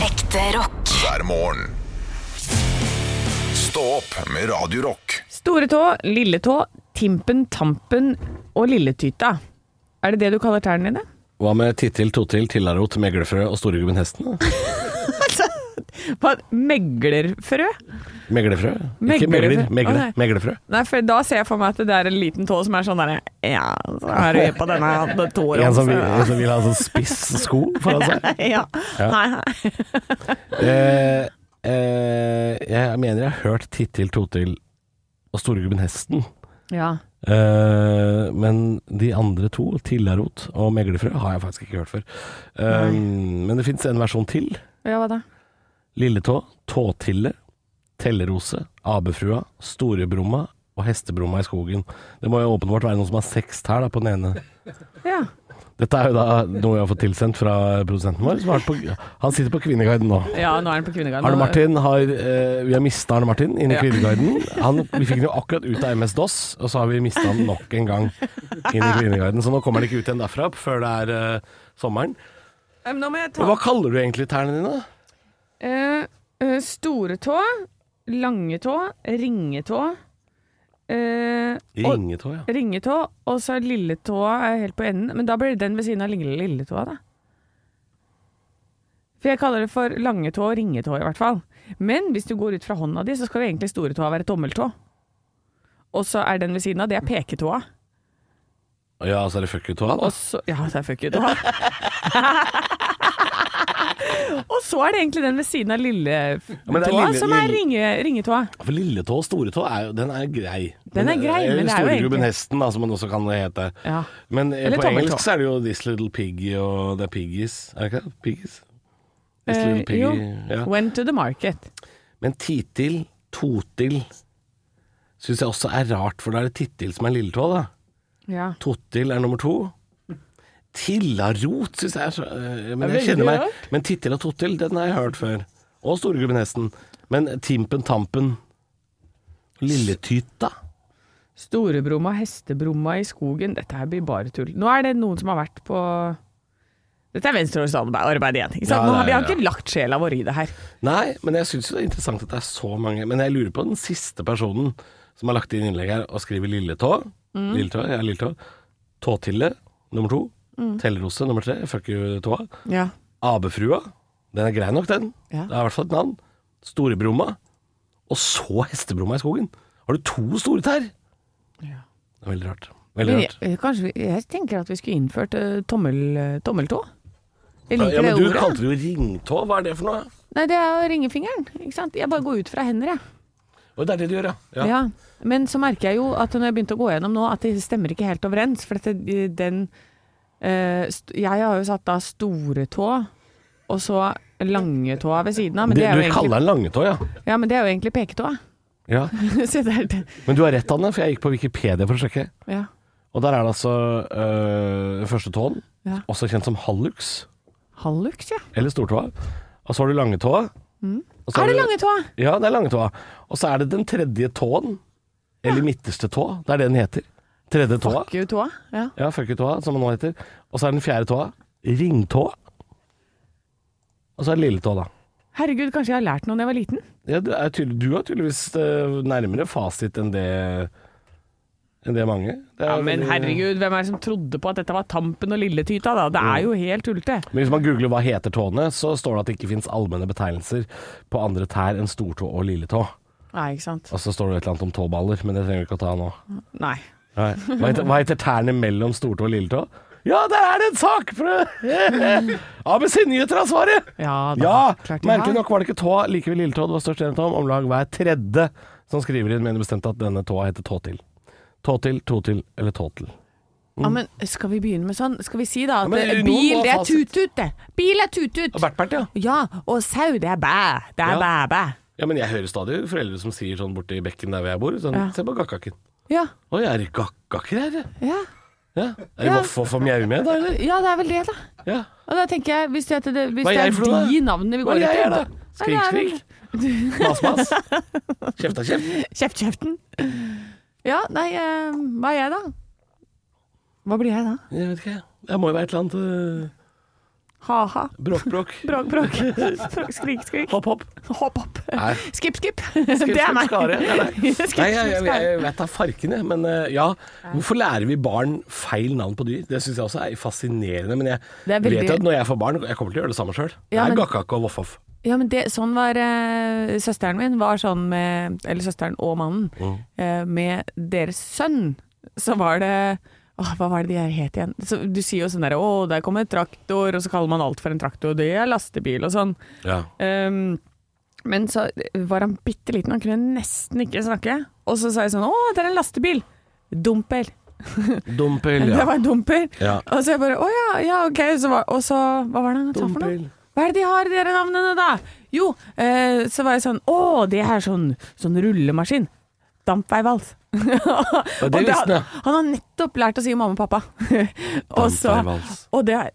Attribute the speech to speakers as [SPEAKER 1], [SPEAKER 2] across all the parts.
[SPEAKER 1] Ekte rock.
[SPEAKER 2] hver morgen. Stå opp med Radio Rock.
[SPEAKER 3] Store tå, lille tå, timpen, tampen og lilletyta. Er det det du kaller tærne dine?
[SPEAKER 4] Hva med tittil, totil, tillarot, meglefrø og storegubben hesten?
[SPEAKER 3] Hva, meglerfrø?
[SPEAKER 4] Meglefrø? Ikke
[SPEAKER 3] Meglefrø.
[SPEAKER 4] megler,
[SPEAKER 3] Å,
[SPEAKER 4] megle,
[SPEAKER 3] nei.
[SPEAKER 4] meglefrø.
[SPEAKER 3] Nei, for da ser jeg for meg at det er en liten tå som er sånn derre Ja, så er du på denne den tåren.
[SPEAKER 4] En som, vil,
[SPEAKER 3] så-
[SPEAKER 4] en som vil ha sånn spiss sko foran seg.
[SPEAKER 3] ja. Nei, nei.
[SPEAKER 4] Eh, eh, jeg mener jeg har hørt tittil, totil og storegubben hesten.
[SPEAKER 3] Ja.
[SPEAKER 4] Eh, men de andre to, tillarot og meglefrø, har jeg faktisk ikke hørt før. Eh, men det fins en versjon til.
[SPEAKER 3] ja, hva da?
[SPEAKER 4] Lilletå, tåtille, tellerose, abefrua, storebromma og hestebromma i skogen. Det må jo åpenbart være noen som har seks tær da, på den ene.
[SPEAKER 3] Ja.
[SPEAKER 4] Dette er jo da noe jeg har fått tilsendt fra produsenten vår. Som har vært på, han sitter på Kvinneguiden nå.
[SPEAKER 3] ja, nå er den på Kvinnegarden.
[SPEAKER 4] Arne Martin har, eh, vi har mista Arne Martin inne i
[SPEAKER 3] Ja.
[SPEAKER 4] Kvinneguiden. Han, vi fikk den jo akkurat ut av MS-DOS, og så har vi mista han nok en gang inn i Kvinneguiden. Så nå kommer han ikke ut igjen derfra før det er eh, sommeren.
[SPEAKER 3] Eh, Nå må jeg
[SPEAKER 4] Men
[SPEAKER 3] ta
[SPEAKER 4] hva kaller du egentlig tærne dine?
[SPEAKER 3] Eh, eh, Store tå, lange tå, ringetå. eh, og-
[SPEAKER 4] Ringetå, ja.
[SPEAKER 3] Ringetå, og så lilletåa er helt på enden. Men da blir det den ved siden av lille- lilletåa, da. For jeg kaller det for langetå og ringetå, i hvert fall. Men hvis du går ut fra hånda di, så skal jo egentlig storetåa være tommeltå. Og så er den ved siden av, det er peketåa.
[SPEAKER 4] Ja, så er det fucketåa, da.
[SPEAKER 3] Og så Ja, det er fuck you, tåa. og så er det egentlig den ved siden av
[SPEAKER 4] men det er
[SPEAKER 3] lilletåa
[SPEAKER 4] lille-
[SPEAKER 3] som er
[SPEAKER 4] lille-
[SPEAKER 3] ringe, ringetåa.
[SPEAKER 4] For lilletå og storetå er jo, den er grei.
[SPEAKER 3] Den er grei, men det er jo
[SPEAKER 4] Storegrubben
[SPEAKER 3] egentlig-
[SPEAKER 4] hesten, da, som den også kan hete.
[SPEAKER 3] Ja.
[SPEAKER 4] Men eh,
[SPEAKER 3] Eller
[SPEAKER 4] på
[SPEAKER 3] tommeltå.
[SPEAKER 4] engelsk så er det jo This Little Piggy og The Piggies. Er det ikke det? Piggies? This
[SPEAKER 3] Eh,
[SPEAKER 4] Little Piggy.
[SPEAKER 3] jo.
[SPEAKER 4] Ja.
[SPEAKER 3] Went to the market.
[SPEAKER 4] Men titil, totil, syns jeg også er rart, for da er det tittil som er lilletå, da.
[SPEAKER 3] Ja.
[SPEAKER 4] Totil er nummer to. Tillarot syns jeg er så eh, Men
[SPEAKER 3] Det er
[SPEAKER 4] jeg kjenner
[SPEAKER 3] veldig
[SPEAKER 4] meg Men tittil og totil, den har jeg hørt før. Og storegrubben hesten. Men timpen, tampen Lilletyta?
[SPEAKER 3] Storebromma, Hestebromma i skogen. Dette her blir bare tull. Nå er det noen som har vært på Dette er venstreorganisasjonsarbeid igjen. Ikke sant?
[SPEAKER 4] Ja,
[SPEAKER 3] Nå har, vi har
[SPEAKER 4] det er-
[SPEAKER 3] ikke lagt sjela vår i det her.
[SPEAKER 4] Nei, men jeg syns det er interessant at det er så mange. Men jeg lurer på den siste personen som har lagt inn innlegg her og skriver lilletå.
[SPEAKER 3] Mm.
[SPEAKER 4] Lilletå, ja, lilletå. Tåtille, nummer to.
[SPEAKER 3] Mm.
[SPEAKER 4] Tellerose, nummer tre. Fuck you, tåa.
[SPEAKER 3] Ja.
[SPEAKER 4] Abefrua. Den er grei nok, den.
[SPEAKER 3] Ja.
[SPEAKER 4] Det er i hvert fall et navn. Storebromma. Og så hestebromma i skogen. Har du to store tær?
[SPEAKER 3] Ja.
[SPEAKER 4] Det er veldig rart. Veldig rart.
[SPEAKER 3] kanskje vi, jeg tenker at vi skulle innført eh, tommel, tommeltå. Jeg liker
[SPEAKER 4] Ja, men
[SPEAKER 3] det
[SPEAKER 4] du
[SPEAKER 3] ordet.
[SPEAKER 4] kalte det jo ringtå. Hva er det for noe?
[SPEAKER 3] Nei, det er jo ringefingeren. Ikke sant? Jeg bare går ut fra hender, jeg.
[SPEAKER 4] Å, det er det du gjør, ja.
[SPEAKER 3] Ja. Men så merker jeg jo at når jeg begynte å gå gjennom nå, at det stemmer ikke helt overens. For at det- den eh, st Jeg har jo satt da storetå, og så langetåa ved siden av. Men
[SPEAKER 4] Du,
[SPEAKER 3] det, er jo
[SPEAKER 4] du
[SPEAKER 3] egentlig
[SPEAKER 4] kaller den langetå, ja.
[SPEAKER 3] Ja, men det er jo egentlig peketåa.
[SPEAKER 4] ja.
[SPEAKER 3] Så det er det.
[SPEAKER 4] Men du har rett, Anne, for jeg gikk på Wikipedia for å sjekke.
[SPEAKER 3] Ja.
[SPEAKER 4] Og der er det altså øh, første tåen,
[SPEAKER 3] Ja.
[SPEAKER 4] også kjent som hallux,
[SPEAKER 3] Hallux, ja.
[SPEAKER 4] eller stortåa. Og så har du langetåa. og så
[SPEAKER 3] Mm. Er
[SPEAKER 4] har
[SPEAKER 3] det
[SPEAKER 4] du-
[SPEAKER 3] langetåa?
[SPEAKER 4] Ja, det er langetåa. Og så er det den tredje tåen, eller midterste tå, det er det den heter. Tredje tåa.
[SPEAKER 3] Gutåa? Ja.
[SPEAKER 4] Ja, fucketåa, som den nå heter. Og så er den fjerde tåa ringtåa. Og så er det lilletå, da.
[SPEAKER 3] Herregud, kanskje jeg har lært noe da jeg var liten?
[SPEAKER 4] Ja, du, er tydelig, du er tydeligvis øh, nærmere fasit enn det, enn det mange. Det er
[SPEAKER 3] Ja, Men
[SPEAKER 4] veldig-
[SPEAKER 3] herregud, hvem er det som trodde på at dette var Tampen og Lilletyta, da? Det er jo helt tullete.
[SPEAKER 4] Men hvis man googler hva heter tåene, så står det at det ikke finnes allmenne betegnelser på andre tær enn stortå og lilletå.
[SPEAKER 3] Nei, ikke sant.
[SPEAKER 4] Og så står det et eller annet om tåballer, men det trenger vi ikke å ta nå.
[SPEAKER 3] Nei.
[SPEAKER 4] Nei. Hva, heter, hva heter tærne mellom stortå og lilletå? Ja, der er det en sak! For ABC-nyheter har svaret!
[SPEAKER 3] Ja, da,
[SPEAKER 4] Ja!
[SPEAKER 3] klart de
[SPEAKER 4] Merkelig
[SPEAKER 3] har.
[SPEAKER 4] nok var det ikke tå, likevel lilletå. Det var størst enighet om. Om lag hver tredje som skriver inn, mener bestemt at denne tåa heter tåtil. Tåtil, totil eller tåtel.
[SPEAKER 3] Ja, men skal vi begynne med sånn? Skal vi si da at
[SPEAKER 4] Mm. men
[SPEAKER 3] eh,
[SPEAKER 4] noen
[SPEAKER 3] bil,
[SPEAKER 4] må
[SPEAKER 3] det er
[SPEAKER 4] ha sitt.
[SPEAKER 3] tut-tut, det. Bil er tut-tut.
[SPEAKER 4] Bert-Bert, ja.
[SPEAKER 3] Ja, og sau, det er bæ. Det er
[SPEAKER 4] Ja.
[SPEAKER 3] bæ-bæ.
[SPEAKER 4] Ja, men jeg hører stadig foreldre som sier sånn borti bekken der hvor jeg bor, sånn
[SPEAKER 3] Ja.
[SPEAKER 4] Se på gakkaken.
[SPEAKER 3] Ja.
[SPEAKER 4] Oi, er det gakkaker her? ja?
[SPEAKER 3] ja.
[SPEAKER 4] Ja. Er det
[SPEAKER 3] Ja.
[SPEAKER 4] voff og mjau med, da, eller?
[SPEAKER 3] Ja, det er vel det, da.
[SPEAKER 4] Ja.
[SPEAKER 3] Og da tenker jeg, hvis det, det, hvis
[SPEAKER 4] Hva er
[SPEAKER 3] det
[SPEAKER 4] jeg for noe,
[SPEAKER 3] er
[SPEAKER 4] da?
[SPEAKER 3] de navnene vi
[SPEAKER 4] Hva
[SPEAKER 3] går
[SPEAKER 4] er jeg,
[SPEAKER 3] etter
[SPEAKER 4] da?
[SPEAKER 3] Nei, det
[SPEAKER 4] Skrik,
[SPEAKER 3] er vel-
[SPEAKER 4] skrik. Mas, mas. Kjefta, kjeft.
[SPEAKER 3] Kjeft kjeften. Ja, nei, eh, hva er jeg da? Hva blir jeg da?
[SPEAKER 4] Jeg vet ikke, jeg. Det må jo være et eller annet øh,
[SPEAKER 3] Ha-ha.
[SPEAKER 4] Bråk-bråk.
[SPEAKER 3] Bråk-bråk. Skrik-skrik.
[SPEAKER 4] Hopp-hopp.
[SPEAKER 3] Hopp-hopp.
[SPEAKER 4] Nei.
[SPEAKER 3] Skipp-skipp. Det er meg.
[SPEAKER 4] Skare, det er deg.
[SPEAKER 3] Skip, skip,
[SPEAKER 4] Nei, jeg, jeg,
[SPEAKER 3] skare.
[SPEAKER 4] jeg vet da farken, jeg. Men eh, ja, hvorfor lærer vi barn feil navn på dyr? Det syns jeg også er fascinerende. Men
[SPEAKER 3] Det er
[SPEAKER 4] jeg
[SPEAKER 3] veldig-
[SPEAKER 4] vet jo at når jeg får barn, jeg kommer til å gjøre det samme sjøl.
[SPEAKER 3] Ja,
[SPEAKER 4] det
[SPEAKER 3] men-
[SPEAKER 4] er gakkak og voff-voff.
[SPEAKER 3] Ja, men det, sånn var eh, søsteren min, var sånn med, eller søsteren og mannen,
[SPEAKER 4] Mm.
[SPEAKER 3] eh, med deres sønn, så var det, åh, hva var det de her het igjen? Så, du sier jo sånn der, åh, der kommer en traktor, og så kaller man alt for en traktor, det er lastebil og sånn.
[SPEAKER 4] Ja.
[SPEAKER 3] Ehm, men så var han bitte liten, han kunne nesten ikke snakke, og så sa jeg sånn, åh, det er en lastebil, dumper.
[SPEAKER 4] Dumpel,
[SPEAKER 3] Det
[SPEAKER 4] ja.
[SPEAKER 3] var dumper.
[SPEAKER 4] Ja.
[SPEAKER 3] Og så jeg bare, åja, ja, ok. Så var, og så, hva var det han sa for
[SPEAKER 4] Dumpel.
[SPEAKER 3] noe? Hva er det de har i dere navnene da? Jo, eh, så var jeg sånn, å, det er sånn, sånn rullemaskin. Dampveivals. og
[SPEAKER 4] det visste
[SPEAKER 3] han.
[SPEAKER 4] jeg.
[SPEAKER 3] Han har nettopp lært å si mamma og pappa. og, så,
[SPEAKER 4] Dampveivals.
[SPEAKER 3] og det er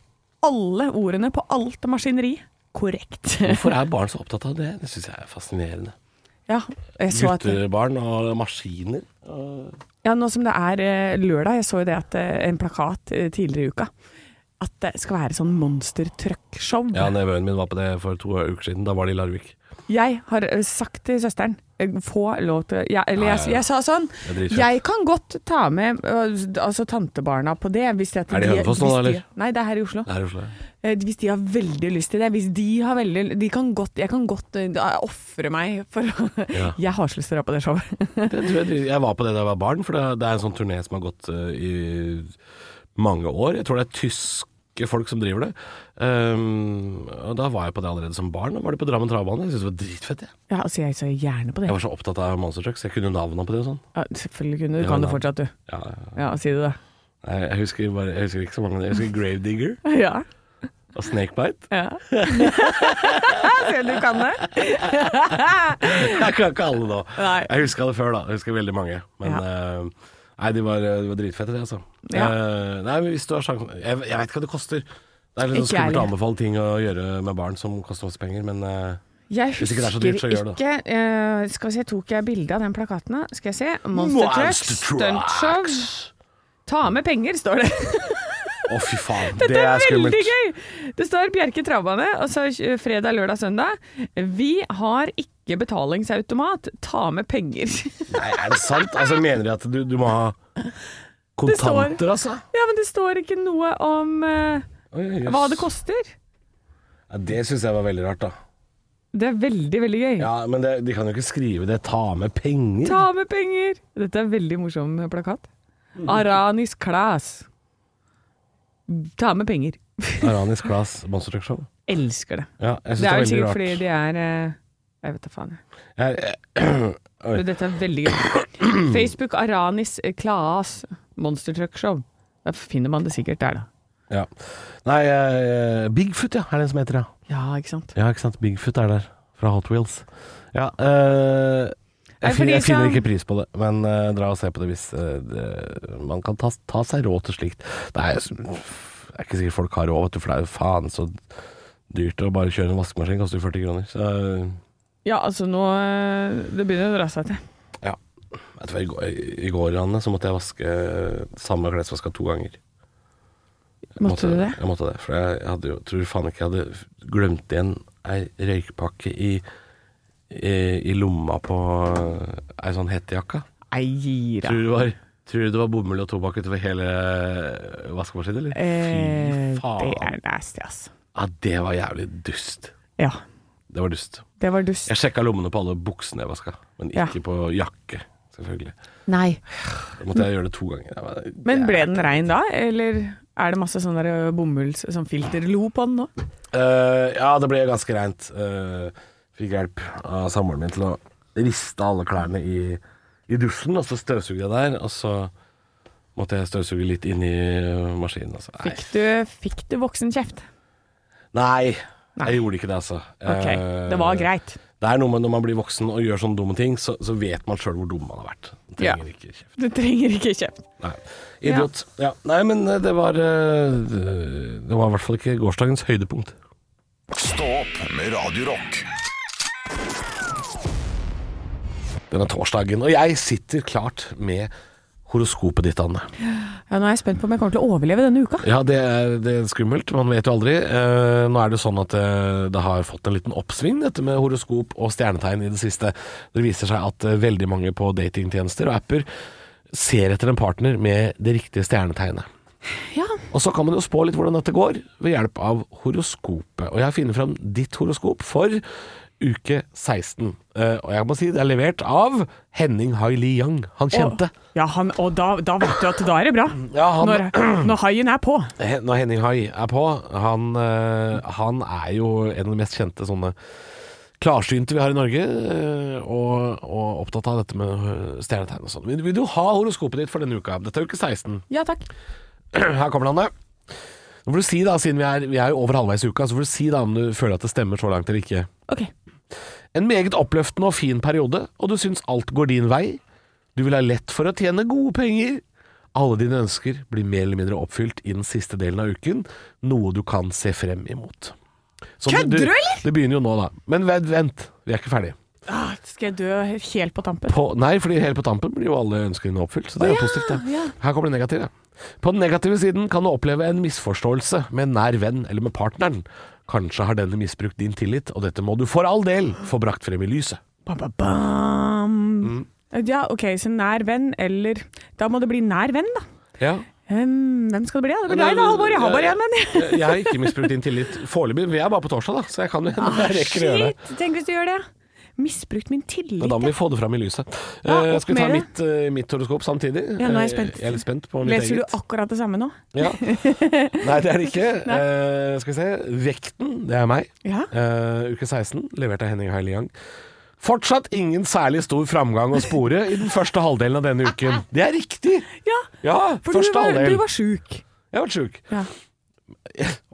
[SPEAKER 3] alle ordene på alt maskineri korrekt.
[SPEAKER 4] Hvorfor er barn så opptatt av det? Det syns jeg er fascinerende.
[SPEAKER 3] ja, jeg så at...
[SPEAKER 4] Guttebarn og maskiner.
[SPEAKER 3] Ja, nå som det er eh, lørdag, jeg så jo det at eh, en plakat eh, tidligere i uka, at det skal være sånn monstertrøkkshow.
[SPEAKER 4] Ja, nevøen min var på det for to uker siden. Da var det i Larvik.
[SPEAKER 3] Jeg har eh, sagt til søsteren, eh, få lov til ja, Eller
[SPEAKER 4] Ja,
[SPEAKER 3] jeg,
[SPEAKER 4] ja, ja.
[SPEAKER 3] jeg sa sånn,
[SPEAKER 4] Det er dritfett.
[SPEAKER 3] jeg kan godt ta med eh, altså tantebarna på det. Hvis det at
[SPEAKER 4] Er det i Hønefoss nå,
[SPEAKER 3] hvis de-
[SPEAKER 4] eller?
[SPEAKER 3] Nei, det er her i Oslo.
[SPEAKER 4] Det er i Oslo. ja.
[SPEAKER 3] Eh, Hvis de har veldig lyst til det. Hvis de har veldig de kan godt, Jeg kan godt eh, da ofre meg for å
[SPEAKER 4] Ja.
[SPEAKER 3] Jeg har så lyst til å dra på det showet.
[SPEAKER 4] Det tror jeg, dri- jeg var på det da jeg var barn, for det, det er en sånn turné som har gått eh, i mange år. Jeg tror det er tyske folk som driver det. Ehm, og da var jeg på det allerede som barn. Da var det på Drammen travbane. Jeg syntes det var dritfett. Jeg.
[SPEAKER 3] Ja, altså, jeg så gjerne på det.
[SPEAKER 4] jeg var så opptatt av Monster Trucks. Jeg kunne navnene på det og sånn.
[SPEAKER 3] Ja, selvfølgelig kunne du.
[SPEAKER 4] Ja,
[SPEAKER 3] Kan det
[SPEAKER 4] da.
[SPEAKER 3] fortsatt, du.
[SPEAKER 4] Ja,
[SPEAKER 3] Ja, si det, da.
[SPEAKER 4] Nei, jeg, husker bare, jeg husker ikke så mange. Jeg husker Gravedigger
[SPEAKER 3] Ja.
[SPEAKER 4] og Snakebite.
[SPEAKER 3] Ja. Ser du kan det?
[SPEAKER 4] Jeg kan ikke alle nå.
[SPEAKER 3] Nei.
[SPEAKER 4] Jeg huska det før, da. Jeg husker veldig mange. Men
[SPEAKER 3] Ja.
[SPEAKER 4] eh, Nei, de var, de var dritfette, det, altså.
[SPEAKER 3] Ja.
[SPEAKER 4] Eh, nei, men hvis du har sjansen jeg, jeg vet ikke hva det koster. Det er litt
[SPEAKER 3] Ikke jeg
[SPEAKER 4] sånn skummelt å
[SPEAKER 3] heller.
[SPEAKER 4] anbefale ting å gjøre med barn som koster masse penger, men eh,
[SPEAKER 3] Jeg
[SPEAKER 4] Hvis ikke
[SPEAKER 3] husker
[SPEAKER 4] det er så dyrt, så gjør det.
[SPEAKER 3] ikke eh, Skal vi se, tok jeg bilde av den plakaten? da? Skal jeg se. Monster
[SPEAKER 4] Monster
[SPEAKER 3] Trucks, stuntshow. Ta med penger, står det.
[SPEAKER 4] Å, fy faen.
[SPEAKER 3] Det er veldig
[SPEAKER 4] skummelt.
[SPEAKER 3] gøy! Det står Bjerke Travbane, og så eh, fredag, lørdag, søndag. Vi har ikke betalingsautomat. Ta med penger.
[SPEAKER 4] Nei, er det sant? Altså, mener de at du, du må ha kontanter, altså?
[SPEAKER 3] Ja, men det står ikke noe om eh,
[SPEAKER 4] Oi, jøss.
[SPEAKER 3] hva det koster.
[SPEAKER 4] Ja, det syns jeg var veldig rart, da.
[SPEAKER 3] Det er veldig, veldig gøy.
[SPEAKER 4] Ja, Men det, de kan jo ikke skrive det 'ta med penger'.
[SPEAKER 3] Ta med penger! Dette er en veldig morsom plakat.
[SPEAKER 4] Mm.
[SPEAKER 3] Aranis Klas. Ta med penger.
[SPEAKER 4] Aranis Class Monster Truck Show.
[SPEAKER 3] Elsker det.
[SPEAKER 4] Ja, jeg syns
[SPEAKER 3] Det
[SPEAKER 4] det,
[SPEAKER 3] er jo
[SPEAKER 4] veldig
[SPEAKER 3] sikkert
[SPEAKER 4] rart.
[SPEAKER 3] fordi de er eh, Jeg vet da faen. jeg.
[SPEAKER 4] Jeg, eh, Oi.
[SPEAKER 3] Men Dette er veldig gøy. Facebook Aranis Klas monstertruckshow. Da finner man det sikkert der, da.
[SPEAKER 4] ja. Nei, eh, Bigfoot, ja, er det den som heter, ja.
[SPEAKER 3] Ja, ikke sant.
[SPEAKER 4] Ja, ikke sant. Bigfoot er der, fra Hot Wheels. Ja, eh,
[SPEAKER 3] Nei,
[SPEAKER 4] jeg, fin,
[SPEAKER 3] fordi
[SPEAKER 4] jeg finner
[SPEAKER 3] så-
[SPEAKER 4] ikke pris på det, men eh, dra og se på det hvis eh, det, man kan ta, ta seg råd til slikt. Nei, jeg s- det er ikke sikkert folk har råd, vet du, for det er jo faen så dyrt å bare kjøre en vaskemaskin, koster jo 40 kroner. Så eh,
[SPEAKER 3] Ja, altså nå eh, Det begynner å dra seg til.
[SPEAKER 4] ja. Vet du hva, i går- i går, Anne, så måtte jeg vaske eh, samme klesvaska to ganger.
[SPEAKER 3] Måtte du det?
[SPEAKER 4] Jeg måtte det, for jeg hadde jo, tror faen ikke jeg hadde glemt igjen ei røykpakke i, i, i lomma på ei sånn hettejakka.
[SPEAKER 3] Nei, gir
[SPEAKER 4] Tror du det var, tror du det var bomull og tobakk utover hele vaskemaskinen, eller?
[SPEAKER 3] Eh,
[SPEAKER 4] Fy faen.
[SPEAKER 3] det er nasty, ass.
[SPEAKER 4] Ja, det var jævlig dust.
[SPEAKER 3] Ja.
[SPEAKER 4] Det var dust.
[SPEAKER 3] Det var dust.
[SPEAKER 4] Jeg sjekka lommene på alle buksene jeg vaska, men
[SPEAKER 3] Ja.
[SPEAKER 4] ikke på jakke, selvfølgelig.
[SPEAKER 3] Nei.
[SPEAKER 4] Da måtte jeg gjøre det to ganger. Jeg var-
[SPEAKER 3] Men ble den rein da, eller er det masse sånn der bomulls sånn filterlo på den nå?
[SPEAKER 4] Eh, ja, det ble ganske reint. Eh, fikk hjelp av samboeren min til å riste alle klærne i, i dusjen, og så støvsugde jeg der. Og så måtte jeg støvsuge litt inni eh, maskinen. Altså. Nei.
[SPEAKER 3] Fikk du, fikk du voksenkjeft?
[SPEAKER 4] Nei,
[SPEAKER 3] Nei.
[SPEAKER 4] jeg gjorde ikke det, altså.
[SPEAKER 3] Ok,
[SPEAKER 4] Eh,
[SPEAKER 3] det var greit.
[SPEAKER 4] Det er noe med når man blir voksen og gjør sånne dumme ting, så, så vet man sjøl hvor dum man har vært. Man
[SPEAKER 3] Ja.
[SPEAKER 4] Trenger ikke kjeft.
[SPEAKER 3] Du trenger ikke kjeft.
[SPEAKER 4] Nei. Idiot. Ja. Nei, men eh, det var eh, Det var i hvert fall ikke gårsdagens høydepunkt.
[SPEAKER 2] Stå opp med Radio Rock.
[SPEAKER 4] denne torsdagen. Og jeg sitter klart med horoskopet ditt, Anne.
[SPEAKER 3] Ja, nå er jeg spent på om jeg kommer til å overleve denne uka.
[SPEAKER 4] Ja, det er, det er skummelt. Man vet jo aldri. Eh, nå er det jo sånn at eh, det har fått en liten oppsving, dette med horoskop og stjernetegn i det siste. Det viser seg at eh, veldig mange på datingtjenester og apper ser etter en partner med det riktige stjernetegnet.
[SPEAKER 3] Ja.
[SPEAKER 4] Og så kan man jo spå litt hvordan dette går ved hjelp av horoskopet. Og jeg har funnet fram ditt horoskop for uke 16. Eh, og jeg må si det er levert av Henning Haili Yang, han kjente.
[SPEAKER 3] Ja, han, og da, da vet du at da er det bra.
[SPEAKER 4] Ja, han-
[SPEAKER 3] når, når haien er på.
[SPEAKER 4] Hen- Når Henning Hai er på, han, eh, han er jo en av de mest kjente sånne klarsynte vi har i Norge, eh, og, og opptatt av dette med eh, stjernetegn og sånn. Vil, vil du ha horoskopet ditt for denne uka? Dette er uke 16.
[SPEAKER 3] Ja takk.
[SPEAKER 4] Her kommer han, det. Nå får du si da, siden vi er, vi er jo over halvveis i uka, så får du si da om du føler at det stemmer så langt eller ikke.
[SPEAKER 3] Ok.
[SPEAKER 4] En meget oppløftende og fin periode, og du syns alt går din vei. Du vil ha lett for å tjene gode penger. Alle dine ønsker blir mer eller mindre oppfylt i den siste delen av uken, noe du kan se frem imot. Så
[SPEAKER 3] Kødder du, eller?
[SPEAKER 4] Det begynner jo nå, da. Men vent, vent vi er ikke ferdig.
[SPEAKER 3] Ah, skal jeg dø helt på tampen?
[SPEAKER 4] På, nei, fordi helt på tampen blir jo alle ønskene oppfylt, så det er jo
[SPEAKER 3] Å ja,
[SPEAKER 4] positivt. Det.
[SPEAKER 3] ja.
[SPEAKER 4] Her kommer det negative. På den negative siden kan du oppleve en misforståelse med en nær venn eller med partneren. Kanskje har denne misbrukt din tillit, og dette må du for all del få brakt frem i lyset.
[SPEAKER 3] Bam, bam, bam.
[SPEAKER 4] Mm.
[SPEAKER 3] Ja, ok, så nær venn eller Da må det bli nær venn, da.
[SPEAKER 4] Ja.
[SPEAKER 3] Ehm, hvem skal det bli, da? Det blir deg, da, Halvor. Jeg har bare én venn, jeg.
[SPEAKER 4] jeg. Jeg har ikke misbrukt din tillit foreløpig. Vi er bare på torsdag, da, så jeg kan jo hende jeg rekker å gjøre det.
[SPEAKER 3] Ah, Shit, tenk hvis du gjør det. Misbrukt min tillit.
[SPEAKER 4] Men da må vi få det fram i lyset.
[SPEAKER 3] Ja,
[SPEAKER 4] Eh,
[SPEAKER 3] opp
[SPEAKER 4] skal vi ta
[SPEAKER 3] med det.
[SPEAKER 4] mitt, eh, mitt horoskop samtidig?
[SPEAKER 3] Ja, nå er jeg
[SPEAKER 4] Eh,
[SPEAKER 3] spent.
[SPEAKER 4] Jeg er litt spent på mitt
[SPEAKER 3] Leser du
[SPEAKER 4] eget.
[SPEAKER 3] akkurat det samme nå?
[SPEAKER 4] Ja. Nei, det er det ikke. Eh, skal vi se. Vekten, det er meg.
[SPEAKER 3] Ja.
[SPEAKER 4] Eh, uke 16, levert av Henning Heili Yang. Fortsatt ingen særlig stor framgang å spore i den første halvdelen av denne uken. Det er riktig!
[SPEAKER 3] Ja,
[SPEAKER 4] Ja,
[SPEAKER 3] for du
[SPEAKER 4] første
[SPEAKER 3] var,
[SPEAKER 4] halvdel.
[SPEAKER 3] du var sjuk.
[SPEAKER 4] Jeg har vært sjuk.
[SPEAKER 3] Ja.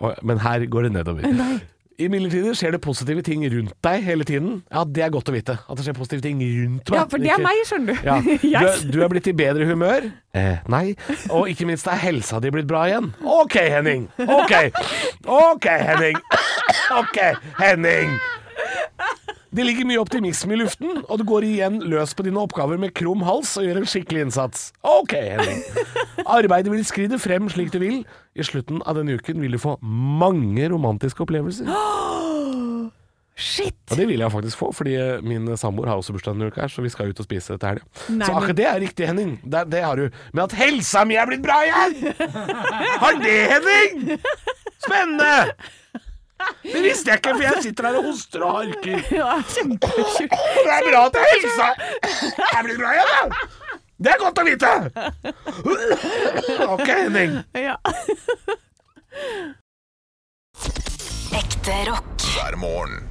[SPEAKER 4] Å, Men her går det nedover. Imidlertid skjer det positive ting rundt deg hele tiden. Ja, det er godt å vite. At det skjer positive ting rundt meg.
[SPEAKER 3] ja, for det
[SPEAKER 4] Ikke-
[SPEAKER 3] er meg, skjønner du.
[SPEAKER 4] Ja. Du, er,
[SPEAKER 3] Jeg-
[SPEAKER 4] du er blitt i bedre humør? Eh, nei. Og ikke minst er helsa di blitt bra igjen. OK, Henning. OK. OK, Henning. OK, Henning. Det ligger mye optimisme i luften, og du går igjen løs på dine oppgaver med krum hals og gjør en skikkelig innsats. OK, Henning. Arbeidet vil skride frem slik du vil. I slutten av denne uken vil du få mange romantiske opplevelser.
[SPEAKER 3] Shit!
[SPEAKER 4] Og det vil jeg faktisk få, fordi eh, min samboer har også bursdag denne uka, her, så vi skal ut og spise til helga.
[SPEAKER 3] Nei,
[SPEAKER 4] Så akkurat
[SPEAKER 3] men-
[SPEAKER 4] det er riktig, Henning. Det, det har du. Men at helsa mi er blitt bra igjen! Har det, Henning? Spennende! Det visste jeg ikke, for jeg sitter her og hoster og harker.
[SPEAKER 3] Ja, kjempesjuk.
[SPEAKER 4] Og det er bra at helsa er blitt bra igjen, da! Det er godt å vite! Ok, Henning.
[SPEAKER 3] Ja.
[SPEAKER 1] Ekte rock.
[SPEAKER 2] hver morgen.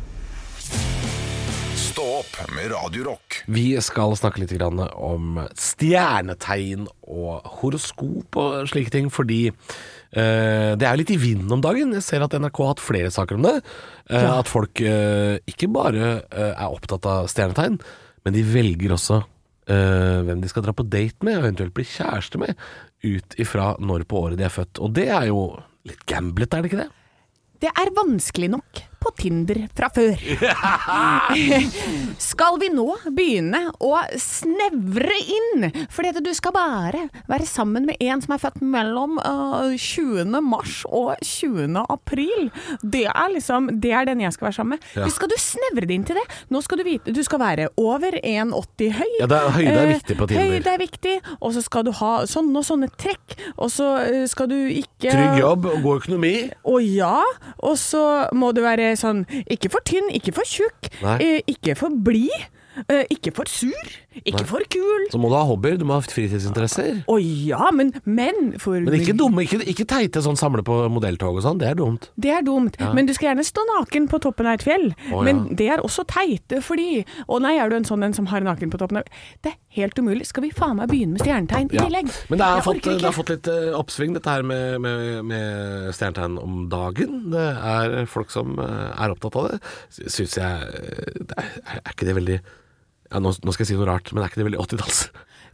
[SPEAKER 2] Stå opp med Radio Rock.
[SPEAKER 4] Vi skal snakke litt grann om stjernetegn og horoskop og slike ting, fordi eh, det er litt i vinden om dagen. Jeg ser at NRK har hatt flere saker om det. eh, At folk eh, ikke bare eh, er opptatt av stjernetegn, men de velger også eh, hvem de skal dra på date med, og eventuelt bli kjæreste med, ut ifra når på året de er født. Og det er jo litt gamblet, er det ikke det?
[SPEAKER 3] Det er vanskelig nok på Tinder fra før. skal vi nå begynne å snevre inn? Fordi at du skal bare være sammen med en som er født mellom øh, 20. mars og 20. april. Det er liksom Det er den jeg skal være sammen med.
[SPEAKER 4] Ja.
[SPEAKER 3] Hvis skal du snevre det inn til det? Nå skal du vite Du skal være over 1,80 høy.
[SPEAKER 4] Ja, det er- høyde er
[SPEAKER 3] Eh,
[SPEAKER 4] viktig på Tinder.
[SPEAKER 3] Høyde er viktig, og så skal du ha sånne og sånne trekk, og så eh, skal du ikke
[SPEAKER 4] Trygg jobb og god økonomi.
[SPEAKER 3] å ja, og så må du være sånn Ikke for tynn, ikke for tjukk,
[SPEAKER 4] Nei.
[SPEAKER 3] eh, ikke for blid, eh, ikke for sur, ikke for kul.
[SPEAKER 4] Så må du ha hobbyer, du må ha fritidsinteresser.
[SPEAKER 3] Å ja, men menn for
[SPEAKER 4] Men ikke dumme, ikke, ikke teite sånn samle på modelltog og sånn, det er dumt.
[SPEAKER 3] Det er dumt, men du skal gjerne stå naken på toppen av et fjell.
[SPEAKER 4] Å,
[SPEAKER 3] Men
[SPEAKER 4] ja.
[SPEAKER 3] det er også teite, fordi Å nei, er du en sånn en som har naken på toppen av Det er helt umulig. Skal vi faen meg begynne med stjernetegn i
[SPEAKER 4] Ja.
[SPEAKER 3] tillegg?
[SPEAKER 4] Men det har,
[SPEAKER 3] Jeg
[SPEAKER 4] fått,
[SPEAKER 3] orker ikke.
[SPEAKER 4] det har fått litt eh, oppsving, dette her med, med, med stjernetegn om dagen. Det er folk som eh, er opptatt av det. Sy- Syns jeg eh, det er, er ikke det veldig ja, nå, nå skal jeg si noe rart, men er ikke det veldig 80-talls?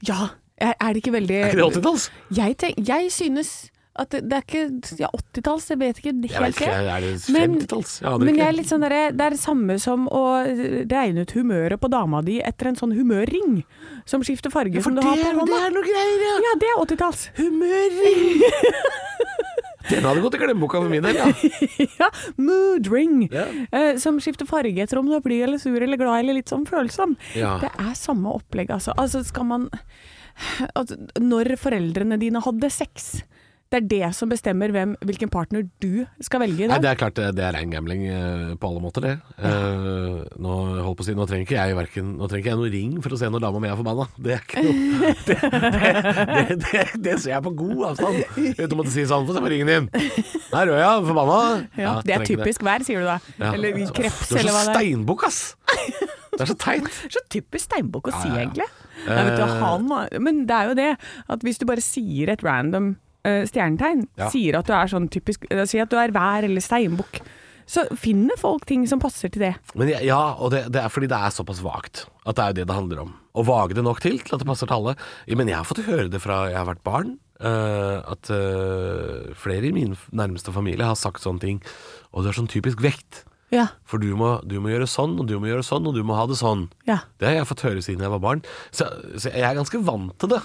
[SPEAKER 3] Ja. Er er det ikke veldig
[SPEAKER 4] Er ikke det 80-talls?
[SPEAKER 3] Jeg, tenk, jeg synes at det, det er ikke ja, 80-talls, jeg vet ikke
[SPEAKER 4] Jeg vet
[SPEAKER 3] helt
[SPEAKER 4] ikke,
[SPEAKER 3] det.
[SPEAKER 4] er det
[SPEAKER 3] Men-
[SPEAKER 4] 50-talls? Jeg aner
[SPEAKER 3] Men jeg
[SPEAKER 4] ikke.
[SPEAKER 3] er litt sånn derre- det er det samme som å regne ut humøret på dama di etter en sånn humørring som skifter farge som du har på hånda.
[SPEAKER 4] er noe greier,
[SPEAKER 3] Ja, det er 80-talls.
[SPEAKER 4] Humørring! Den hadde gått i glemmeboka for min del, ja.
[SPEAKER 3] ja, mood ring.
[SPEAKER 4] Ja.
[SPEAKER 3] Eh, som skifter farge etter om du er blid eller sur eller glad eller litt sånn følsom.
[SPEAKER 4] Ja.
[SPEAKER 3] Det er samme opplegg, altså. Altså skal man altså, Når foreldrene dine hadde sex, det er det som bestemmer hvem, hvilken partner du skal velge i
[SPEAKER 4] Nei,
[SPEAKER 3] dag.
[SPEAKER 4] det er klart det, det er rein gambling eh, på alle måter, det. Eh, nå holdt på å si, nå trenger ikke jeg hverken, nå trenger ikke jeg noen ring for å se når dama mi er forbanna. Det er ikke noe Det, det, det, det, det ser jeg på god avstand. Uten å måtte si sånn, få se på ringen din. Nei, rød ja, forbanna.
[SPEAKER 3] ja,
[SPEAKER 4] Ja,
[SPEAKER 3] det er
[SPEAKER 4] trenger ikke
[SPEAKER 3] typisk vær, sier du da.
[SPEAKER 4] Ja.
[SPEAKER 3] Eller kreps,
[SPEAKER 4] Du er
[SPEAKER 3] eller
[SPEAKER 4] så
[SPEAKER 3] hva det er.
[SPEAKER 4] steinbukk, ass! Det er så teit.
[SPEAKER 3] Så typisk steinbukk å si,
[SPEAKER 4] Ja, ja, ja.
[SPEAKER 3] egentlig. Nei, vet du,
[SPEAKER 4] Eh.
[SPEAKER 3] han, var- men det er jo det at hvis du bare sier et random eh, stjernetegn,
[SPEAKER 4] Ja.
[SPEAKER 3] sier at du er sånn typisk eh, Si at du er vær eller steinbukk, så finner folk ting som passer til det.
[SPEAKER 4] Men ja, ja og det, det er fordi det er såpass vagt. At det er jo det det handler om. Å vage det nok til til at det passer til alle. Ja, Men jeg har fått høre det fra jeg har vært barn. eh, at eh, flere i min f- nærmeste familie har sagt sånne ting. Og du er sånn typisk vekt.
[SPEAKER 3] Ja.
[SPEAKER 4] For du må, du må gjøre sånn, og du må gjøre sånn, og du må ha det sånn.
[SPEAKER 3] Ja.
[SPEAKER 4] Det har jeg fått høre siden jeg var barn. Så, så jeg er ganske vant til det.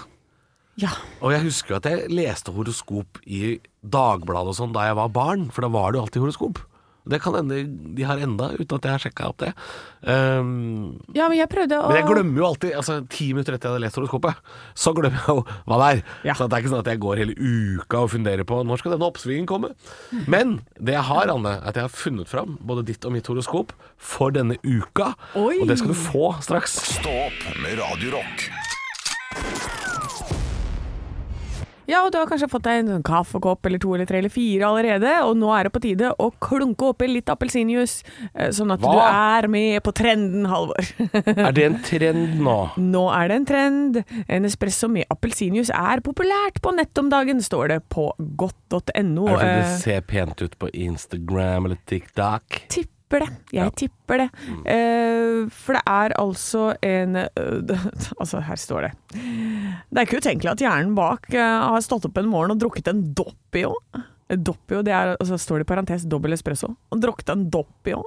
[SPEAKER 3] Ja.
[SPEAKER 4] Og jeg husker jo at jeg leste horoskop i Dagbladet og sånn da jeg var barn, for da var det jo alltid horoskop. Det kan hende de har enda, uten at jeg har sjekka opp det. Um,
[SPEAKER 3] ja, men jeg prøvde å
[SPEAKER 4] men jeg glemmer jo alltid, altså ti minutter etter jeg hadde lest horoskopet, så glemmer jeg jo hva det er.
[SPEAKER 3] Ja.
[SPEAKER 4] Så det er ikke sånn at jeg går hele uka og funderer på når skal denne oppsvingen komme. Men det jeg har, Anne, er at jeg har funnet fram både ditt og mitt horoskop for denne uka.
[SPEAKER 3] Oi.
[SPEAKER 4] Og det skal du få straks.
[SPEAKER 2] Stå opp med Radio Rock.
[SPEAKER 3] Ja, og du har kanskje fått deg en sånn kaffekopp eller to eller tre eller fire allerede, og nå er det på tide å klunke oppi litt appelsinjuice, eh, sånn at
[SPEAKER 4] Hva?
[SPEAKER 3] du er med på trenden, Halvor.
[SPEAKER 4] Er det en trend nå?
[SPEAKER 3] nå er det en trend. En espresso med appelsinjuice er populært på nett om dagen, står det på godt.no.
[SPEAKER 4] Er det fordi
[SPEAKER 3] Eh,
[SPEAKER 4] det ser pent ut på Instagram eller TikTok?
[SPEAKER 3] tipper det. Jeg
[SPEAKER 4] Ja. Mm.
[SPEAKER 3] tipper det. Eh, for det er altså en eh, Altså, her står det. Det er ikke utenkelig at hjernen bak eh, har stått opp en morgen og drukket en Doppio. Doppio, det er, altså, står det i parentes, dobbel espresso. Og drukket en Doppio.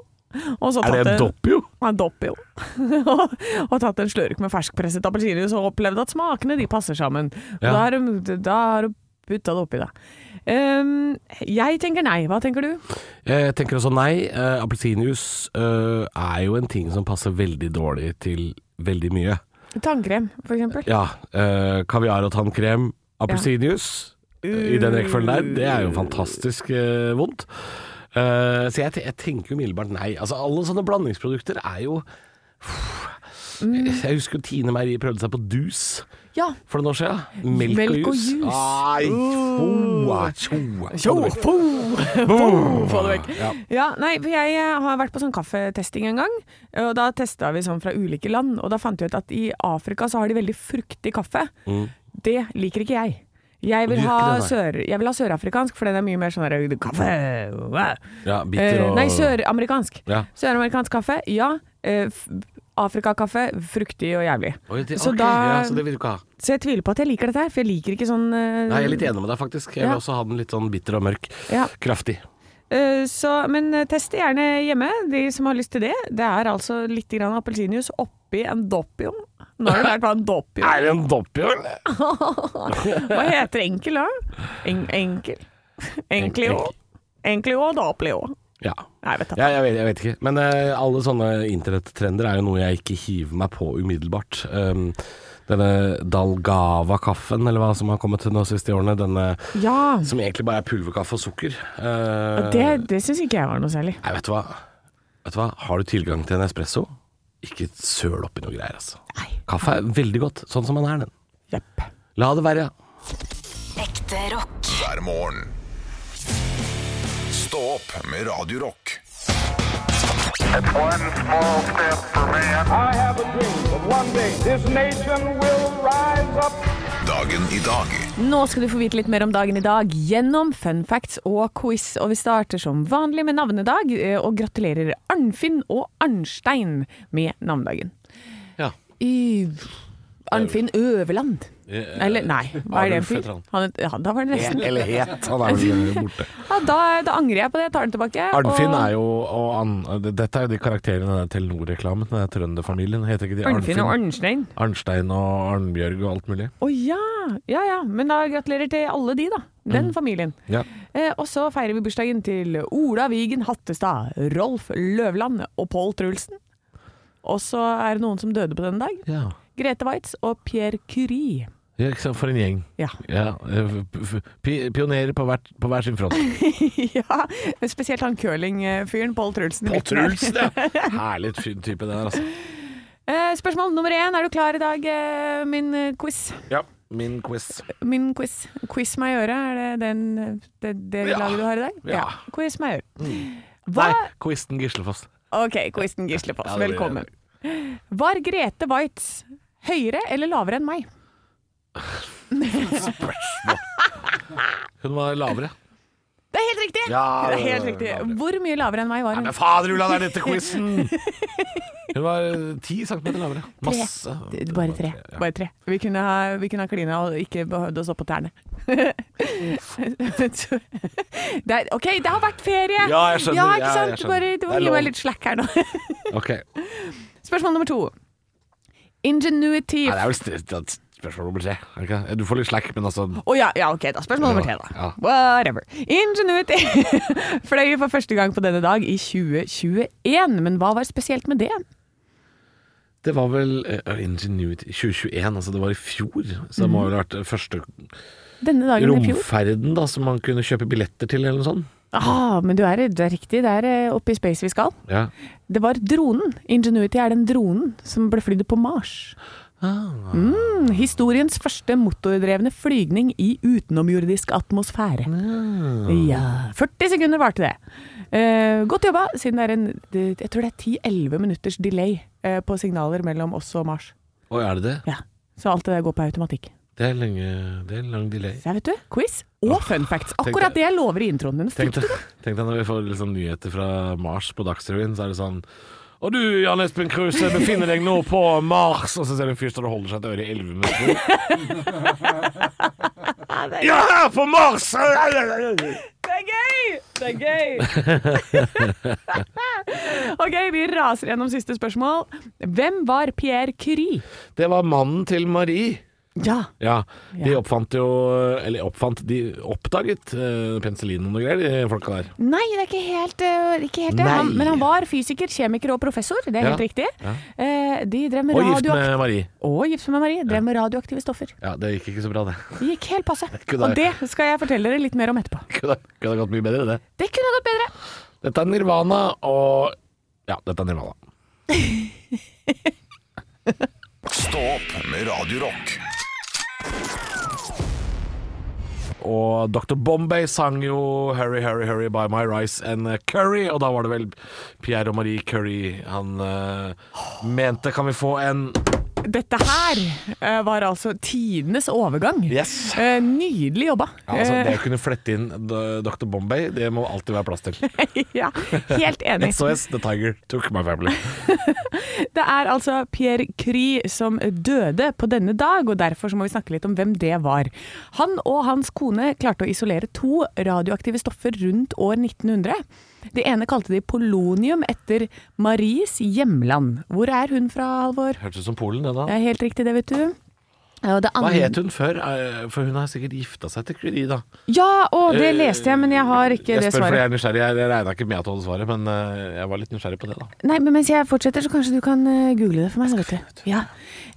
[SPEAKER 3] Og så
[SPEAKER 4] Er
[SPEAKER 3] tatt
[SPEAKER 4] det en
[SPEAKER 3] en-
[SPEAKER 4] doppio?
[SPEAKER 3] Ja, en Doppio. og, og tatt en slørk med ferskpresset appelsinjuice og opplevd at smakene de passer sammen. Og
[SPEAKER 4] Ja.
[SPEAKER 3] Da har du- da har du putta det oppi, da. Ehm, jeg tenker nei. Hva tenker du?
[SPEAKER 4] Jeg tenker også nei. Eh, Appelsinjuice eh, er jo en ting som passer veldig dårlig til veldig mye.
[SPEAKER 3] Tannkrem, for eksempel.
[SPEAKER 4] Ja, eh, kaviar og tannkrem, appelsinjuice eh, i den rekkefølgen der, det er jo fantastisk eh, vondt. Eh, så jeg, te- jeg tenker jo umiddelbart nei. Altså, alle sånne blandingsprodukter er jo Jeg husker Tine Meieri prøvde seg på dus
[SPEAKER 3] Ja.
[SPEAKER 4] for noen år siden. Melk,
[SPEAKER 3] Melk og
[SPEAKER 4] og jus.
[SPEAKER 3] juice.
[SPEAKER 4] Ai,
[SPEAKER 3] Uh.
[SPEAKER 4] tjo, tjo.
[SPEAKER 3] Tjo, fo, fo, få det vekk.
[SPEAKER 4] Ja.
[SPEAKER 3] Ja, nei, for jeg eh, har vært på sånn kaffetesting en gang, og da testa vi sånn fra ulike land, og da fant vi ut at i Afrika så har de veldig fruktig kaffe. Det liker ikke jeg. Jeg vil,
[SPEAKER 4] Mm. Du gjør
[SPEAKER 3] ha
[SPEAKER 4] ikke det,
[SPEAKER 3] sør, jeg vil ha sørafrikansk, for den er mye mer sånn der, kaffe wow.
[SPEAKER 4] Ja, bitter
[SPEAKER 3] Eh,
[SPEAKER 4] og
[SPEAKER 3] Nei, søramerikansk.
[SPEAKER 4] Ja.
[SPEAKER 3] Søramerikansk kaffe, ja. Eh, f- Afrikakaffe, fruktig og jævlig.
[SPEAKER 4] Oi, det,
[SPEAKER 3] Så
[SPEAKER 4] ok,
[SPEAKER 3] da-
[SPEAKER 4] ja, så det vil du ikke ha?
[SPEAKER 3] Så jeg tviler på at jeg liker dette her, for jeg liker ikke sånn eh,
[SPEAKER 4] Nei, jeg er litt enig med deg, faktisk. Jeg vil
[SPEAKER 3] Ja.
[SPEAKER 4] også ha den litt sånn bitter og mørk.
[SPEAKER 3] Ja.
[SPEAKER 4] Kraftig.
[SPEAKER 3] Eh, Så, men eh, test det gjerne hjemme, de som har lyst til det. Det er altså litt grann appelsinjuice oppi en doppio. Nå har du lært hva en doppio
[SPEAKER 4] Er det en doppio, eller?
[SPEAKER 3] Hva heter enkel, da? En, enkel? Enklio? Enklio og doppio.
[SPEAKER 4] Ja.
[SPEAKER 3] Nei, vet du.
[SPEAKER 4] Ja, jeg, vet, jeg vet ikke. Men eh, alle sånne internettrender er jo noe jeg ikke hiver meg på umiddelbart. Um, denne Dalgava-kaffen, eller hva som har kommet til nå siste årene. Denne
[SPEAKER 3] Ja,
[SPEAKER 4] som egentlig bare er pulverkaffe og sukker. Eh,
[SPEAKER 3] det, det syns ikke jeg var noe særlig.
[SPEAKER 4] Nei, vet du hva? Vet du hva? Har du tilgang til en espresso? Ikke søl oppi noe greier, altså.
[SPEAKER 3] Nei.
[SPEAKER 4] Kaffe er veldig godt, sånn som den er, den.
[SPEAKER 3] Jepp.
[SPEAKER 4] La det være.
[SPEAKER 1] Ekte rock.
[SPEAKER 2] Hver morgen. Stå opp med Radio Rock.
[SPEAKER 5] It's one small step for man.
[SPEAKER 6] I have a dream that one day this nation will rise up.
[SPEAKER 2] Dagen i dag
[SPEAKER 3] Nå skal du få vite litt mer om dagen i dag gjennom fun facts og quiz. Og vi starter som vanlig med navnedag, eh, og gratulerer Arnfinn og Arnstein med navnedagen.
[SPEAKER 4] Ja.
[SPEAKER 3] I, Arnfinn Øverland. Eller nei, hva er det
[SPEAKER 7] Arnulf
[SPEAKER 3] for
[SPEAKER 7] heter han.
[SPEAKER 3] han? het- Ja, da var det nesten.
[SPEAKER 4] Eller het. Han er vel borte.
[SPEAKER 3] Ja, da, da angrer jeg på det, jeg tar den tilbake.
[SPEAKER 4] Arnfinn er jo og Ann- Dette er jo de karakterene i den der Telenor-reklamen. Den der trønderfamilien. Heter ikke de
[SPEAKER 3] og Arnfinn og Arnstein.
[SPEAKER 4] Arnstein og Arnbjørg og alt mulig.
[SPEAKER 3] Å ja, ja ja. Men da gratulerer til alle de, da.
[SPEAKER 4] Mm.
[SPEAKER 3] Den familien.
[SPEAKER 4] Ja.
[SPEAKER 3] Eh, og så feirer vi bursdagen til Ola Vigen Hattestad, Rolf Løvland og Pål Trulsen. Og så er det noen som døde på denne dag.
[SPEAKER 4] ja.
[SPEAKER 3] Grete Waitz og Pierre Curie.
[SPEAKER 4] Ja, ikke sant? For en gjeng.
[SPEAKER 3] Ja.
[SPEAKER 4] Ja, eh, p- p- Pionerer på, hvert, på hver sin front.
[SPEAKER 3] ja, men spesielt han curlingfyren Pål Trulsen. i
[SPEAKER 4] Pål
[SPEAKER 3] midten her.
[SPEAKER 4] Trulsen, ja! Herlig fin type, den her, altså.
[SPEAKER 3] Eh, spørsmål nummer én. Er du klar i dag, eh, min eh, quiz?
[SPEAKER 4] Ja, min quiz.
[SPEAKER 3] Min quiz. Quiz meg i øret, er det den, det, det
[SPEAKER 4] Ja.
[SPEAKER 3] laget du har i dag?
[SPEAKER 4] Ja. Mm.
[SPEAKER 3] Quiz meg i øret. Hva
[SPEAKER 4] Nei, quizen Gislefoss.
[SPEAKER 3] Ok, quizen Gislefoss.
[SPEAKER 4] Ja, det blir-
[SPEAKER 3] Velkommen. Var Grete Waitz høyere eller lavere enn meg?
[SPEAKER 4] Hun var lavere.
[SPEAKER 3] Det er helt riktig!
[SPEAKER 4] Ja,
[SPEAKER 3] det er helt riktig. Hvor mye lavere enn meg var hun?
[SPEAKER 4] Men fader, Ulla, det er dette quizen! Hun var eh, ti centimeter lavere. Masse.
[SPEAKER 3] Det- Bare tre.
[SPEAKER 4] Ja.
[SPEAKER 3] Bare tre. Vi kunne ha, vi kunne ha klina og ikke behøvd å stå på tærne. Så- det er, OK, det har vært ferie!
[SPEAKER 4] Ja, jeg skjønner.
[SPEAKER 3] Ja, ikke
[SPEAKER 4] Ja,
[SPEAKER 3] sant?
[SPEAKER 4] jeg skjønner.
[SPEAKER 3] Bare, du
[SPEAKER 4] Det
[SPEAKER 3] må
[SPEAKER 4] er
[SPEAKER 3] gi
[SPEAKER 4] lov.
[SPEAKER 3] meg litt slack her nå.
[SPEAKER 4] Ok. Nei,
[SPEAKER 3] Spørsmål nummer to. Ingenuity
[SPEAKER 4] det er vel st- st- spørsmål nummer tre. er det ikke det? Du får litt slack, men altså
[SPEAKER 3] Å ja, ja, ok, da. Spørsmål nummer tre, da.
[SPEAKER 4] Ja.
[SPEAKER 3] Whatever. Ingenuity fløy for første gang på denne dag i 2021, men hva var spesielt med det?
[SPEAKER 4] Det var vel eh, Ingenuity 2021, altså det var i fjor. Så det må vel ha vært eh, første
[SPEAKER 3] Denne dagen Mhm. i fjor?
[SPEAKER 4] romferden da som man kunne kjøpe billetter til, eller noe sånt.
[SPEAKER 3] Ah, men du er, du er riktig, det er eh, oppe i space vi skal.
[SPEAKER 4] Ja.
[SPEAKER 3] Det var dronen. Ingenuity er den dronen som ble flydd på Mars. Mm, historiens første motordrevne flygning i utenomjordisk atmosfære. Ah.
[SPEAKER 4] Mm.
[SPEAKER 3] Ja, 40 sekunder varte det. Eh, godt jobba, siden det er en det- Jeg tror det er 10-11 minutters delay eh, på signaler mellom oss og Mars.
[SPEAKER 4] Oi, er det det?
[SPEAKER 3] Ja, Så alt det der går på automatikk.
[SPEAKER 4] Det er, lenge, det er en lang delay.
[SPEAKER 3] Så her, vet du, quiz og fun facts.
[SPEAKER 4] deg-
[SPEAKER 3] Akkurat det jeg lover i introen din.
[SPEAKER 4] Tenk deg, tenk deg når vi får liksom nyheter fra Mars på Dagsrevyen, så er det sånn og du, Jan Espen Kruse, befinner deg nå på Mars. Og så ser du en fyr som holder seg til øret i elleve minutter. Ja, her på Mars!
[SPEAKER 3] Det er gøy! Det er gøy! ok, vi raser gjennom siste spørsmål. Hvem var Pierre Curie?
[SPEAKER 4] Det var mannen til Marie.
[SPEAKER 3] Ja.
[SPEAKER 4] Ja, de
[SPEAKER 3] Ja.
[SPEAKER 4] oppfant jo Eller oppfant, de oppdaget eh, penicillin og noe greier, de folka der.
[SPEAKER 3] Nei, det er ikke helt, eh, ikke helt det.
[SPEAKER 4] Nei.
[SPEAKER 3] Han, men han var fysiker, kjemiker og professor. Det er
[SPEAKER 4] Ja.
[SPEAKER 3] helt riktig. Eh, de drev med
[SPEAKER 4] Og gift
[SPEAKER 3] radioaktive
[SPEAKER 4] med Marie.
[SPEAKER 3] Og gift med Marie. Drev med radioaktive stoffer.
[SPEAKER 4] Ja, det gikk ikke så bra, det.
[SPEAKER 3] Det gikk helt passe.
[SPEAKER 4] Kunne
[SPEAKER 3] Og det
[SPEAKER 4] jeg-
[SPEAKER 3] skal jeg fortelle dere litt mer om etterpå.
[SPEAKER 4] Kunne kunne gått mye bedre, det.
[SPEAKER 3] Det kunne gått bedre.
[SPEAKER 4] Dette er Nirvana og Ja, dette er Nirvana.
[SPEAKER 2] Stå opp med Radio Rock.
[SPEAKER 4] Og Dr. Bombay sang jo 'Hurry, hurry, hurry by my rice and curry', og da var det vel Pierre og Marie Curry han eh, mente Kan vi få en
[SPEAKER 3] Dette her eh, var altså tidenes overgang.
[SPEAKER 4] Yes.
[SPEAKER 3] Eh, nydelig jobba.
[SPEAKER 4] ja, altså, Det å kunne flette inn d- Dr. Bombay, det må alltid være plass til.
[SPEAKER 3] Eh, ja, helt enig.
[SPEAKER 4] SOS, The Tiger Took My Family.
[SPEAKER 3] Det er altså Pierre Curie som døde på denne dag, og derfor så må vi snakke litt om hvem det var. Han og hans kone klarte å isolere to radioaktive stoffer rundt år 1900. Det ene kalte de polonium etter Maries hjemland. Hvor er hun fra, Halvor?
[SPEAKER 4] Hørtes ut som Polen, det da.
[SPEAKER 3] Det er helt riktig, det vet du. Og det
[SPEAKER 4] Hva
[SPEAKER 3] andre-
[SPEAKER 4] het hun før? Eh, For hun har sikkert gifta seg til Curie, da.
[SPEAKER 3] Ja, å, det leste jeg, men jeg har ikke
[SPEAKER 4] Eh, Jeg
[SPEAKER 3] det
[SPEAKER 4] spør fordi jeg
[SPEAKER 3] svaret.
[SPEAKER 4] er nysgjerrig. Jeg jeg regna ikke med at du hadde svaret, men eh, jeg var litt nysgjerrig på det, da.
[SPEAKER 3] Nei, men mens jeg fortsetter, så kanskje du kan eh, google det for meg. Vet du. Ja.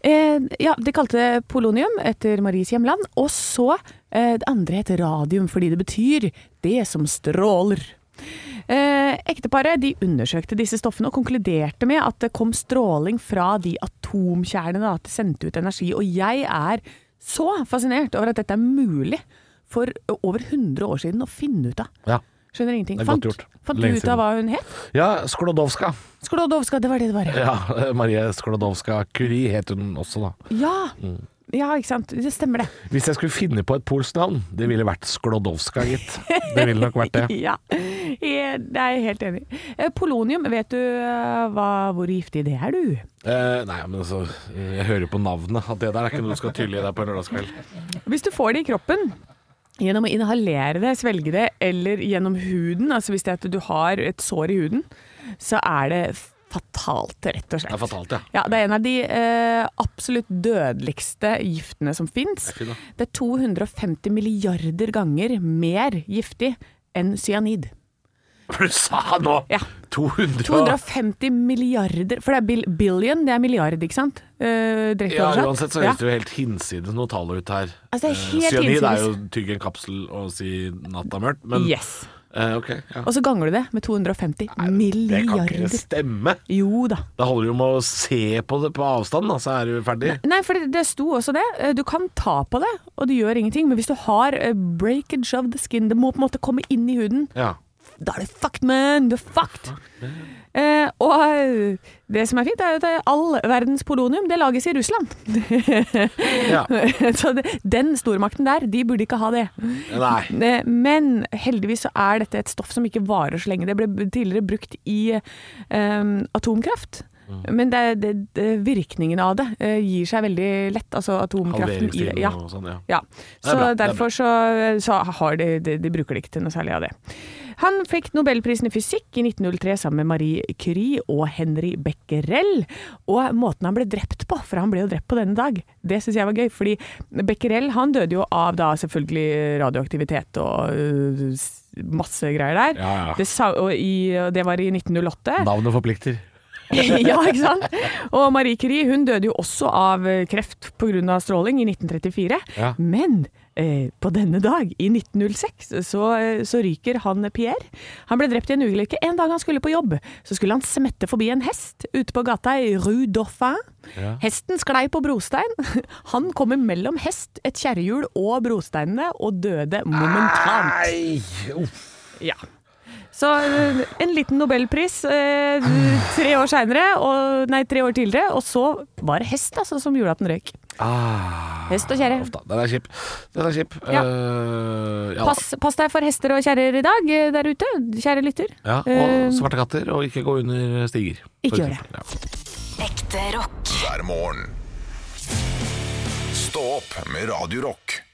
[SPEAKER 3] Eh, ja, de kalte det polonium etter Maries hjemland. Og så eh, det andre het radium, fordi det betyr det som stråler. Eh, ekteparet de undersøkte disse stoffene og konkluderte med at det kom stråling fra de atomkjernene, da, at det sendte ut energi. Og jeg er så fascinert over at dette er mulig for over 100 år siden å finne ut av.
[SPEAKER 4] Ja.
[SPEAKER 3] Skjønner ingenting.
[SPEAKER 4] Det er
[SPEAKER 3] Fant,
[SPEAKER 4] godt gjort.
[SPEAKER 3] fant
[SPEAKER 4] Lenge
[SPEAKER 3] du ut av
[SPEAKER 4] siden.
[SPEAKER 3] hva hun het?
[SPEAKER 4] Ja, Sklodowska.
[SPEAKER 3] Sklodowska, det var det det var.
[SPEAKER 4] Ja, Marie Sklodowska Curie het hun også, da.
[SPEAKER 3] Ja,
[SPEAKER 4] Mm.
[SPEAKER 3] ja ikke sant. Det stemmer, det.
[SPEAKER 4] Hvis jeg skulle finne på et polsk navn, det ville vært Sklodowska, gitt. Det ville nok vært det.
[SPEAKER 3] Ja. Jeg- Det er jeg helt enig i. Eh, Polonium, vet du eh, hva, hvor giftig det er, du?
[SPEAKER 4] Eh, nei, men altså Jeg hører jo på navnet at det der er ikke noe du skal tylle i deg på en lørdagskveld.
[SPEAKER 3] Hvis du får det i kroppen gjennom å inhalere det, svelge det, eller gjennom huden, altså hvis det er at du har et sår i huden, så er det fatalt, rett og slett.
[SPEAKER 4] Det er fatalt, ja.
[SPEAKER 3] Ja, det er en av de eh, absolutt dødeligste giftene som fins.
[SPEAKER 4] fint, da.
[SPEAKER 3] Det er 250 milliarder ganger mer giftig enn cyanid.
[SPEAKER 4] Hva du sa nå?
[SPEAKER 3] Ja.
[SPEAKER 4] 200
[SPEAKER 3] 250 milliarder For det er bil billion, det er milliard, ikke sant? Eh, direkte
[SPEAKER 4] Ja,
[SPEAKER 3] oversatt.
[SPEAKER 4] uansett så
[SPEAKER 3] Ja.
[SPEAKER 4] høres det jo helt hinsides noe tall ut her.
[SPEAKER 3] Altså, det er helt
[SPEAKER 4] Eh, Cyanid er
[SPEAKER 3] hinsides.
[SPEAKER 4] jo tygge en kapsel og si natta mørkt, men
[SPEAKER 3] Yes.
[SPEAKER 4] eh, ok. Ja.
[SPEAKER 3] Og så ganger du det med 250
[SPEAKER 4] Det kan ikke
[SPEAKER 3] milliarder.
[SPEAKER 4] stemme.
[SPEAKER 3] Jo da.
[SPEAKER 4] Da holder det jo med å se på det på avstand, da, så er du ferdig.
[SPEAKER 3] Nei, for det, det sto også det. Eh, Du kan ta på det, og det gjør ingenting. Men hvis du har eh, breakage of the skin, det må på en måte komme inn i huden.
[SPEAKER 4] Ja.
[SPEAKER 3] Da er du fucked, man! Du er fucked! Eh, og eh, det som er fint, er jo at eh, all verdens polonium det lages i Russland.
[SPEAKER 4] ja.
[SPEAKER 3] Så det, den stormakten der, de burde ikke ha det.
[SPEAKER 4] Nei.
[SPEAKER 3] Eh, Men heldigvis så er dette et stoff som ikke varer så lenge. Det ble tidligere brukt i eh, atomkraft. Men det, det, det, virkningen av det eh, gir seg veldig lett, altså atomkraften i det.
[SPEAKER 4] Halveringstiden
[SPEAKER 3] Ja.
[SPEAKER 4] og sånn, ja.
[SPEAKER 3] Ja,
[SPEAKER 4] er
[SPEAKER 3] så
[SPEAKER 4] bra, det er
[SPEAKER 3] derfor så, så har de, de, de bruker det ikke til noe særlig av det. Han fikk nobelprisen i fysikk i 1903 sammen med Marie Curie og Henry Becquerel. Og måten han ble drept på, for han ble jo drept på denne dag, det syns jeg var gøy. Fordi Becquerel han døde jo av da selvfølgelig radioaktivitet og øh, s- masse greier der.
[SPEAKER 4] Ja, ja.
[SPEAKER 3] Det, sa, og i, og det var i 1908
[SPEAKER 4] Navnet forplikter.
[SPEAKER 3] ja, ikke sant? Og Marie Curie hun døde jo også av eh, kreft pga. stråling i 1934.
[SPEAKER 4] Ja.
[SPEAKER 3] Men eh, på denne dag, i 1906, så, eh, så ryker han Pierre. Han ble drept i en ulykke en dag han skulle på jobb. Så skulle han smette forbi en hest ute på gata i Rue Dauphin. Hesten sklei på brostein. Han kom imellom hest, et kjerrehjul og brosteinene, og døde momentant.
[SPEAKER 4] Nei! Uff.
[SPEAKER 3] Ja. Så eh, en liten nobelpris eh, tre år senere, og, nei, tre år tidligere, og så var det hest altså, som gjorde at den røyk.
[SPEAKER 4] Ah,
[SPEAKER 3] Hest og kjerre.
[SPEAKER 4] uff da. Den er kjip. Den er kjip.
[SPEAKER 3] Ja.
[SPEAKER 4] Eh, ja.
[SPEAKER 3] Pass, pass deg for hester og kjerrer i dag eh, der ute, kjære lytter.
[SPEAKER 4] Ja,
[SPEAKER 3] Eh,
[SPEAKER 4] og svarte katter, og ikke gå under stiger.
[SPEAKER 3] Ikke
[SPEAKER 4] for
[SPEAKER 3] gjør det.
[SPEAKER 4] eksempel. Ja.
[SPEAKER 1] Ekte rock.
[SPEAKER 2] hver morgen. Stå opp med Radio Rock.